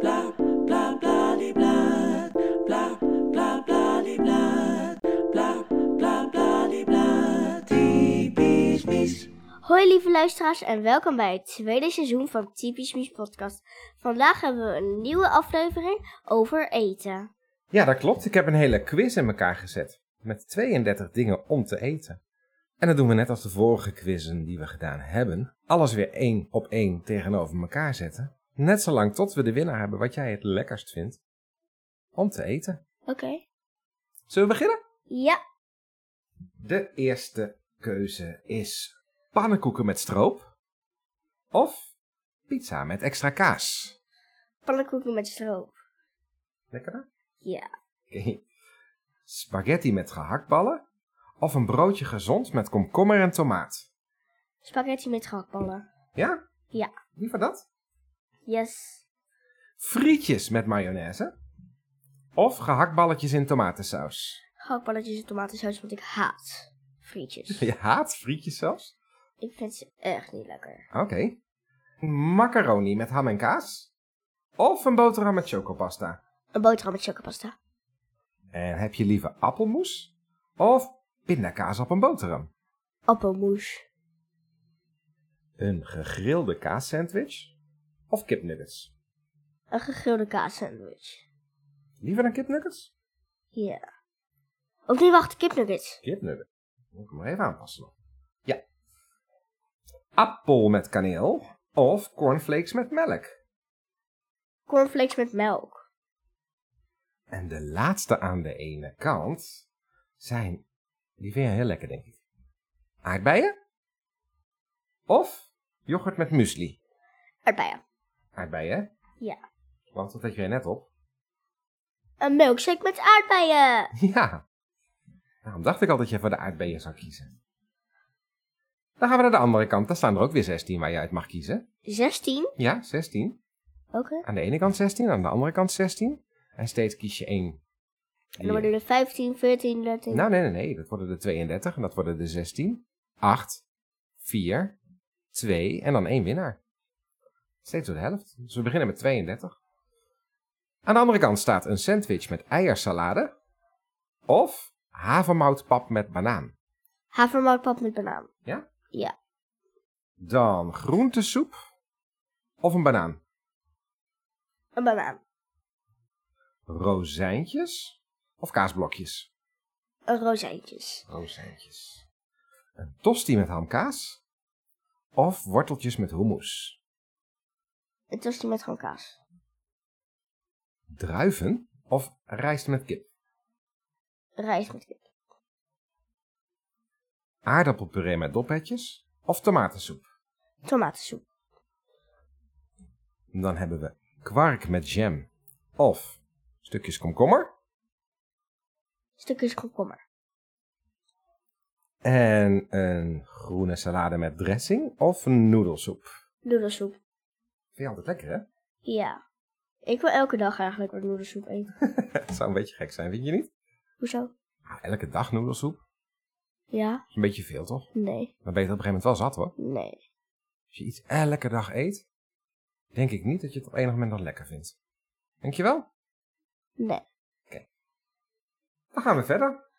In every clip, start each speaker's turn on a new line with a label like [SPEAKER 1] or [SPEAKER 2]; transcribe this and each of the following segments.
[SPEAKER 1] bla bla bla die bla bla bla bla die bla bla bla bla die bla typisch mies.
[SPEAKER 2] Hoi lieve luisteraars en welkom bij het tweede seizoen van Typisch Mies podcast. Vandaag hebben we een nieuwe aflevering over eten.
[SPEAKER 3] Ja, dat klopt. Ik heb een hele quiz in elkaar gezet. Met 32 dingen om te eten. En dat doen we net als de vorige quizzen die we gedaan hebben. Alles weer één op één tegenover elkaar zetten. Net zolang tot we de winnaar hebben wat jij het lekkerst vindt om te eten.
[SPEAKER 2] Oké.
[SPEAKER 3] Zullen we beginnen?
[SPEAKER 2] Ja,
[SPEAKER 3] De eerste keuze is pannenkoeken met stroop. Of pizza met extra kaas.
[SPEAKER 2] pannenkoeken met stroop.
[SPEAKER 3] Lekker hè?
[SPEAKER 2] Ja.
[SPEAKER 3] Oké. Spaghetti met gehaktballen. Of een broodje gezond met komkommer en tomaat.
[SPEAKER 2] Spaghetti met gehaktballen.
[SPEAKER 3] Ja?
[SPEAKER 2] Ja.
[SPEAKER 3] Liever dat?
[SPEAKER 2] Yes.
[SPEAKER 3] Frietjes met mayonaise. Of gehaktballetjes in tomatensaus.
[SPEAKER 2] Gehaktballetjes en tomatensaus, want ik haat frietjes.
[SPEAKER 3] Je haat frietjes zelfs?
[SPEAKER 2] Ik vind ze echt niet lekker.
[SPEAKER 3] Oké. Macaroni met ham en kaas. Of een boterham met chocopasta.
[SPEAKER 2] Een boterham met chocopasta.
[SPEAKER 3] En heb je liever appelmoes? Of pindakaas op een boterham?
[SPEAKER 2] Appelmoes.
[SPEAKER 3] Een gegrilde kaassandwich? Of kipnuggets?
[SPEAKER 2] Een gegrilde kaas sandwich.
[SPEAKER 3] Liever dan kipnuggets?
[SPEAKER 2] Ja. Of nee, wacht, kipnuggets.
[SPEAKER 3] Kipnuggets. Moet ik hem maar even aanpassen. nog. Ja. Appel met kaneel. Of cornflakes met melk.
[SPEAKER 2] Cornflakes met melk.
[SPEAKER 3] En de laatste aan de ene kant zijn, die vind je heel lekker denk ik, aardbeien of yoghurt met muesli.
[SPEAKER 2] Erbij.
[SPEAKER 3] Aardbeien, hè?
[SPEAKER 2] Ja.
[SPEAKER 3] want dat had je net op.
[SPEAKER 2] Een milkshake met aardbeien.
[SPEAKER 3] Ja, daarom dacht ik al dat je voor de aardbeien zou kiezen. Dan gaan we naar de andere kant, daar staan er ook weer 16 waar je uit mag kiezen.
[SPEAKER 2] 16.
[SPEAKER 3] Ja, 16.
[SPEAKER 2] Oké.
[SPEAKER 3] Aan de ene kant 16, aan de andere kant 16. En steeds kies je één.
[SPEAKER 2] En dan worden er 15, 14, 13.
[SPEAKER 3] Nou, nee, nee, nee. Dat worden de 32 en dat worden de 16. 8, 4, 2 en dan één winnaar. Steeds door de helft. Dus we beginnen met 32. Aan de andere kant staat een sandwich met eiersalade. Of havermoutpap met banaan.
[SPEAKER 2] Havermoutpap met banaan.
[SPEAKER 3] Dan groentesoep. Of een banaan.
[SPEAKER 2] Een banaan.
[SPEAKER 3] Rozijntjes. Of kaasblokjes.
[SPEAKER 2] Een rozijntjes.
[SPEAKER 3] Rozijntjes. Een tosti met hamkaas. Of worteltjes met hummus.
[SPEAKER 2] Een tosti met gewoon kaas.
[SPEAKER 3] druiven of rijst met kip.
[SPEAKER 2] Rijst met kip.
[SPEAKER 3] Aardappelpuree met doppetjes of tomatensoep.
[SPEAKER 2] Tomatensoep.
[SPEAKER 3] Dan hebben we kwark met jam of stukjes komkommer.
[SPEAKER 2] Stukjes komkommer.
[SPEAKER 3] En een groene salade met dressing of een noedelsoep.
[SPEAKER 2] Noedelsoep.
[SPEAKER 3] Vind je altijd lekker, hè?
[SPEAKER 2] Ja. Ik wil elke dag eigenlijk wat noedelsoep eten.
[SPEAKER 3] Het zou een beetje gek zijn, vind je niet?
[SPEAKER 2] Hoezo?
[SPEAKER 3] Ah, elke dag noedelsoep.
[SPEAKER 2] Ja?
[SPEAKER 3] Is een beetje veel, toch?
[SPEAKER 2] Nee.
[SPEAKER 3] Dan ben je het op een gegeven moment wel zat, hoor.
[SPEAKER 2] Nee.
[SPEAKER 3] Als je iets elke dag eet, denk ik niet dat je het op enig moment nog lekker vindt. Denk je wel?
[SPEAKER 2] Nee.
[SPEAKER 3] Dan gaan we verder.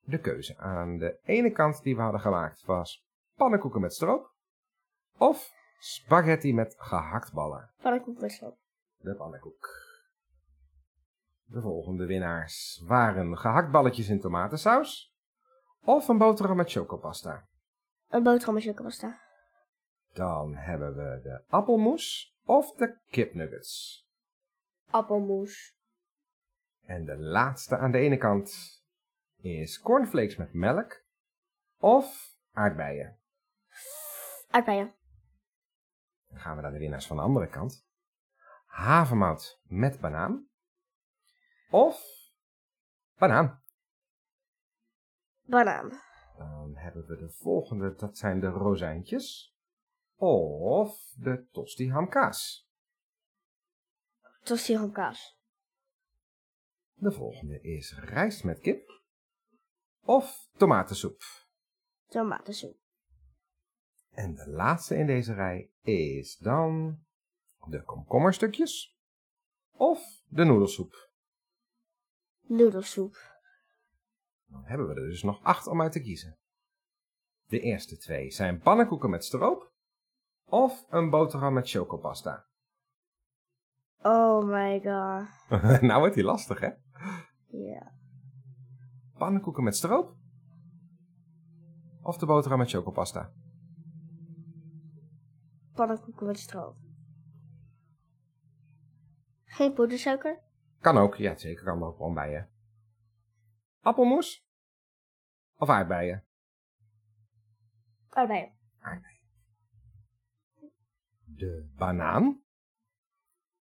[SPEAKER 3] De keuze aan de ene kant die we hadden gemaakt was pannenkoeken met stroop of spaghetti met gehaktballen.
[SPEAKER 2] Pannenkoek met stroop.
[SPEAKER 3] De pannenkoek. De volgende winnaars waren gehaktballetjes in tomatensaus of een boterham met chocopasta.
[SPEAKER 2] Een boterham met chocopasta.
[SPEAKER 3] Dan hebben we de appelmoes of de kipnuggets.
[SPEAKER 2] Appelmoes.
[SPEAKER 3] En de laatste aan de ene kant is cornflakes met melk of aardbeien.
[SPEAKER 2] Aardbeien.
[SPEAKER 3] Dan gaan we naar de winnaars van de andere kant. Havermout met banaan. Of banaan.
[SPEAKER 2] Banaan.
[SPEAKER 3] Dan hebben we de volgende, dat zijn de rozijntjes. Of de tosti hamkaas.
[SPEAKER 2] Tosti gewoon kaas.
[SPEAKER 3] De volgende is rijst met kip. Of tomatensoep.
[SPEAKER 2] Tomatensoep.
[SPEAKER 3] En de laatste in deze rij is dan de komkommerstukjes. of de noedelsoep.
[SPEAKER 2] Noedelsoep.
[SPEAKER 3] Dan hebben we er dus nog acht om uit te kiezen. De eerste twee zijn pannenkoeken met stroop of een boterham met chocopasta.
[SPEAKER 2] Oh my god.
[SPEAKER 3] nou wordt die lastig, hè?
[SPEAKER 2] Ja.
[SPEAKER 3] Pannenkoeken met stroop of de boterham met chocopasta.
[SPEAKER 2] Pannenkoeken met stroop. Geen poedersuiker?
[SPEAKER 3] Kan ook, ja zeker kan ook gewoon bij je. Appelmoes of aardbeien?
[SPEAKER 2] Arbeid.
[SPEAKER 3] De banaan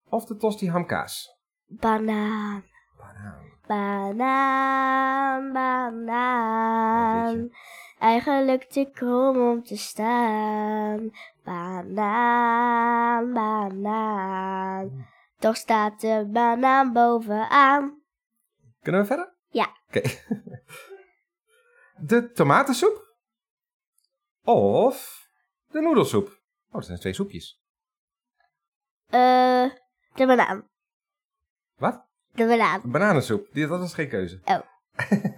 [SPEAKER 3] of de tosti hamkaas?
[SPEAKER 2] Banaan.
[SPEAKER 3] Banaan.
[SPEAKER 2] Banaan,
[SPEAKER 3] Wat
[SPEAKER 2] banaan.
[SPEAKER 3] is
[SPEAKER 2] Eigenlijk te krom om te staan. Banaan, banaan. Toch staat de banaan bovenaan.
[SPEAKER 3] Kunnen we verder?
[SPEAKER 2] Ja.
[SPEAKER 3] Oké. De tomatensoep of de noedelsoep? Oh, dat zijn twee soepjes.
[SPEAKER 2] Eh, de banaan.
[SPEAKER 3] Wat?
[SPEAKER 2] De banaan.
[SPEAKER 3] Bananensoep. Die- Dat was geen keuze.
[SPEAKER 2] Oh.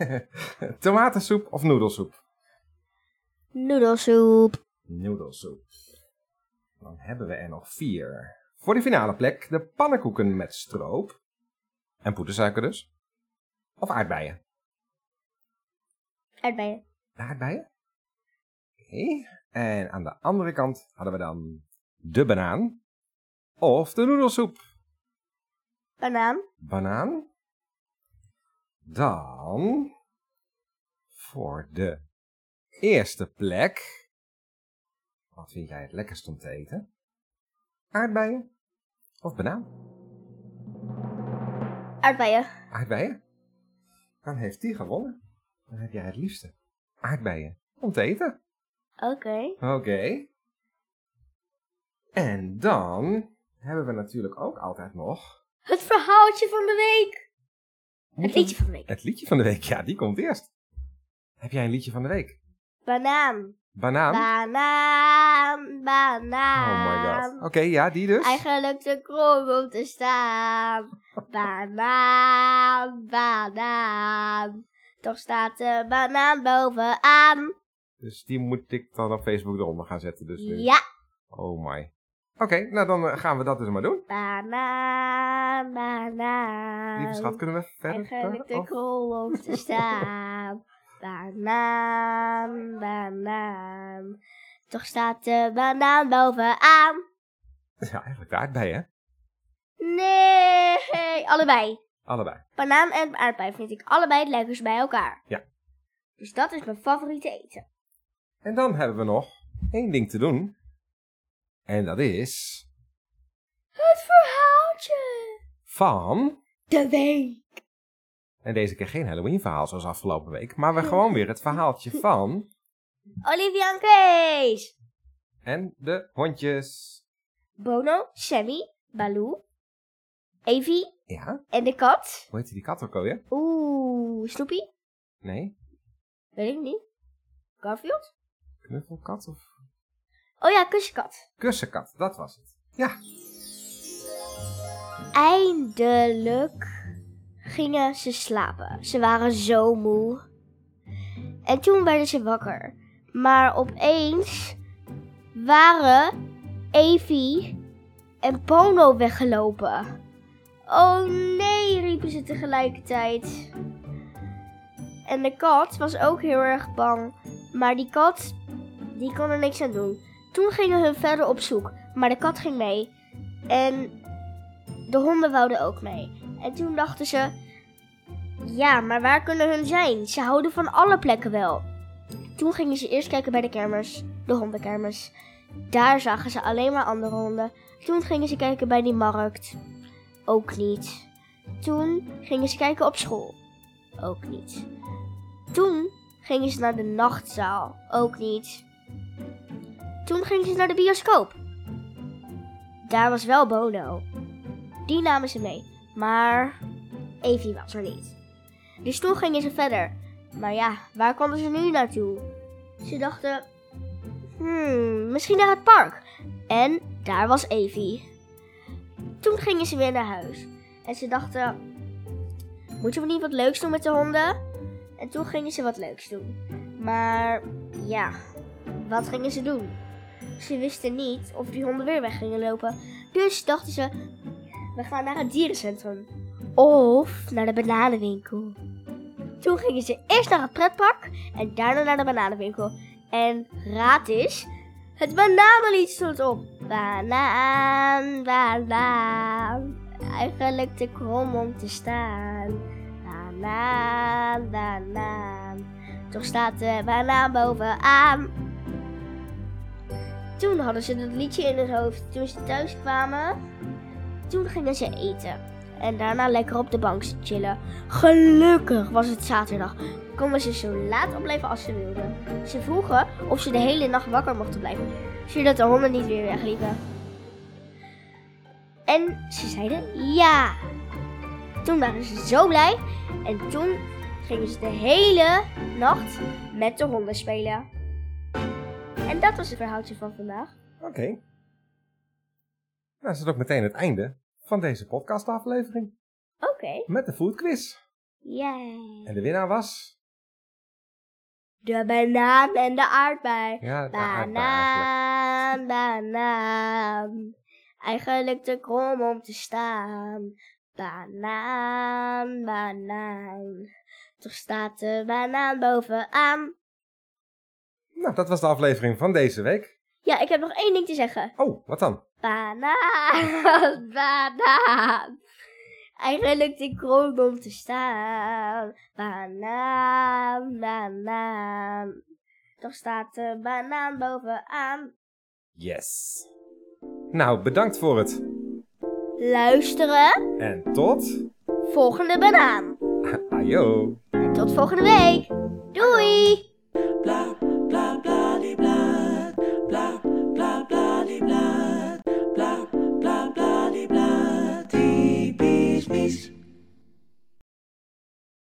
[SPEAKER 3] tomatensoep of noedelsoep?
[SPEAKER 2] Noedelsoep.
[SPEAKER 3] Noedelsoep. Dan hebben we er nog vier. Voor die finale plek de pannenkoeken met stroop. En poedersuiker dus. Of aardbeien.
[SPEAKER 2] Aardbeien.
[SPEAKER 3] De aardbeien. Oké. En aan de andere kant hadden we dan de banaan. Of de noedelsoep.
[SPEAKER 2] Banaan.
[SPEAKER 3] banaan. Dan voor de eerste plek. Wat vind jij het lekkerst om te eten? Aardbeien of banaan?
[SPEAKER 2] Aardbeien.
[SPEAKER 3] Aardbeien. Dan heeft die gewonnen. Dan heb jij het liefste. Aardbeien om te eten.
[SPEAKER 2] Oké.
[SPEAKER 3] Oké. En dan hebben we natuurlijk ook altijd nog...
[SPEAKER 2] Het verhaaltje van de week. Het liedje van de week.
[SPEAKER 3] Het liedje van de week, ja, die komt eerst. Heb jij een liedje van de week?
[SPEAKER 2] Banaan.
[SPEAKER 3] Banaan?
[SPEAKER 2] Banaan. Banaan.
[SPEAKER 3] Oh my god. Oké, ja, die dus.
[SPEAKER 2] Eigenlijk te krom om te staan. Banaan, banaan. Toch staat de banaan bovenaan.
[SPEAKER 3] Dus die moet ik dan op Facebook eronder gaan zetten. Dus nu.
[SPEAKER 2] Ja,
[SPEAKER 3] Oh my. Oké, nou dan eh, gaan we dat dus maar doen.
[SPEAKER 2] banaan, banaan.
[SPEAKER 3] Lieve schat, kunnen we verder? Oh.
[SPEAKER 2] Eigenlijk te
[SPEAKER 3] Of-
[SPEAKER 2] krom om te staan. banaan, banaan. Toch staat de banaan bovenaan.
[SPEAKER 3] Ja, eigenlijk de aardbeien, hè?
[SPEAKER 2] Nee, allebei.
[SPEAKER 3] Allebei.
[SPEAKER 2] Banaan en aardbei vind ik allebei het lekkerst bij elkaar.
[SPEAKER 3] Ja.
[SPEAKER 2] Dus dat is mijn favoriete eten.
[SPEAKER 3] En dan hebben we nog één ding te doen. En dat is
[SPEAKER 2] Het verhaaltje.
[SPEAKER 3] van...
[SPEAKER 2] De week.
[SPEAKER 3] En deze keer geen Halloween verhaal zoals afgelopen week. Maar we gewoon weer het verhaaltje van...
[SPEAKER 2] Olivia en Kees.
[SPEAKER 3] En de hondjes.
[SPEAKER 2] Bono, Sammy, Baloo, Evie
[SPEAKER 3] Ja?
[SPEAKER 2] en de kat.
[SPEAKER 3] Hoe heet die kat ook alweer?
[SPEAKER 2] Oeh, Snoopy.
[SPEAKER 3] Nee?
[SPEAKER 2] Weet ik niet. Garfield?
[SPEAKER 3] Knuffelkat of...
[SPEAKER 2] Oh ja, kussenkat.
[SPEAKER 3] Kussenkat, dat was het. Ja,
[SPEAKER 2] Eindelijk gingen ze slapen. Ze waren zo moe. En toen werden ze wakker. Maar opeens waren Evie en Pono weggelopen. Oh nee, riepen ze tegelijkertijd. En de kat was ook heel erg bang. Maar die kat, die kon er niks aan doen. Toen gingen hun verder op zoek. Maar de kat ging mee. En de honden wouden ook mee. En toen dachten ze: ja, maar waar kunnen hun zijn? Ze houden van alle plekken wel. Toen gingen ze eerst kijken bij de kermis, de hondenkermis. Daar zagen ze alleen maar andere honden. Toen gingen ze kijken bij die markt. Ook niet. Toen gingen ze kijken op school. Ook niet. Toen gingen ze naar de nachtzaal. Ook niet. Toen gingen ze naar de bioscoop. Daar was wel Bono. Die namen ze mee. Maar Evie was er niet. Dus toen gingen ze verder. Maar ja, waar konden ze nu naartoe? Ze dachten, hmm, misschien naar het park. En daar was Evie. Toen gingen ze weer naar huis. En ze dachten, moeten we niet wat leuks doen met de honden? En toen gingen ze wat leuks doen. Maar ja, wat gingen ze doen? Ze wisten niet of die honden weer weg gingen lopen. Dus dachten ze, we gaan naar het dierencentrum. Of naar de bananenwinkel. Toen gingen ze eerst naar het pretpark en daarna naar de bananenwinkel. En raad eens, het bananenlied stond op. Banaan, banaan, eigenlijk te krom om te staan. Banaan, banaan, toch staat de banaan bovenaan. Toen hadden ze dat liedje in hun hoofd. Toen ze thuis kwamen, toen gingen ze eten. En daarna lekker op de bank chillen. Gelukkig was het zaterdag. Konden ze zo laat opblijven als ze wilden. Ze vroegen of ze de hele nacht wakker mochten blijven. Zodat de honden niet weer wegliepen. En ze zeiden ja. Toen waren ze zo blij. En toen gingen ze de hele nacht met de honden spelen. En dat was het verhaaltje van vandaag.
[SPEAKER 3] Oké. Nou, is het ook meteen het einde van deze podcastaflevering
[SPEAKER 2] Oké.
[SPEAKER 3] met de food quiz.
[SPEAKER 2] Yay.
[SPEAKER 3] En de winnaar was...
[SPEAKER 2] De banaan en de aardbei.
[SPEAKER 3] Ja, de aardbei
[SPEAKER 2] Banaan,
[SPEAKER 3] eigenlijk.
[SPEAKER 2] banaan. Eigenlijk te krom om te staan. Banaan, banaan. Toch staat de banaan bovenaan.
[SPEAKER 3] Nou, dat was de aflevering van deze week.
[SPEAKER 2] Ja, ik heb nog één ding te zeggen.
[SPEAKER 3] Oh, wat dan?
[SPEAKER 2] Banaan, banaan. Eigenlijk te krom om te staan. Banaan, banaan. Toch staat de banaan bovenaan.
[SPEAKER 3] Yes. Nou, bedankt voor het.
[SPEAKER 2] Luisteren,
[SPEAKER 3] En tot...
[SPEAKER 2] volgende banaan.
[SPEAKER 3] Ajo.
[SPEAKER 2] Tot volgende week. Doei!
[SPEAKER 1] blah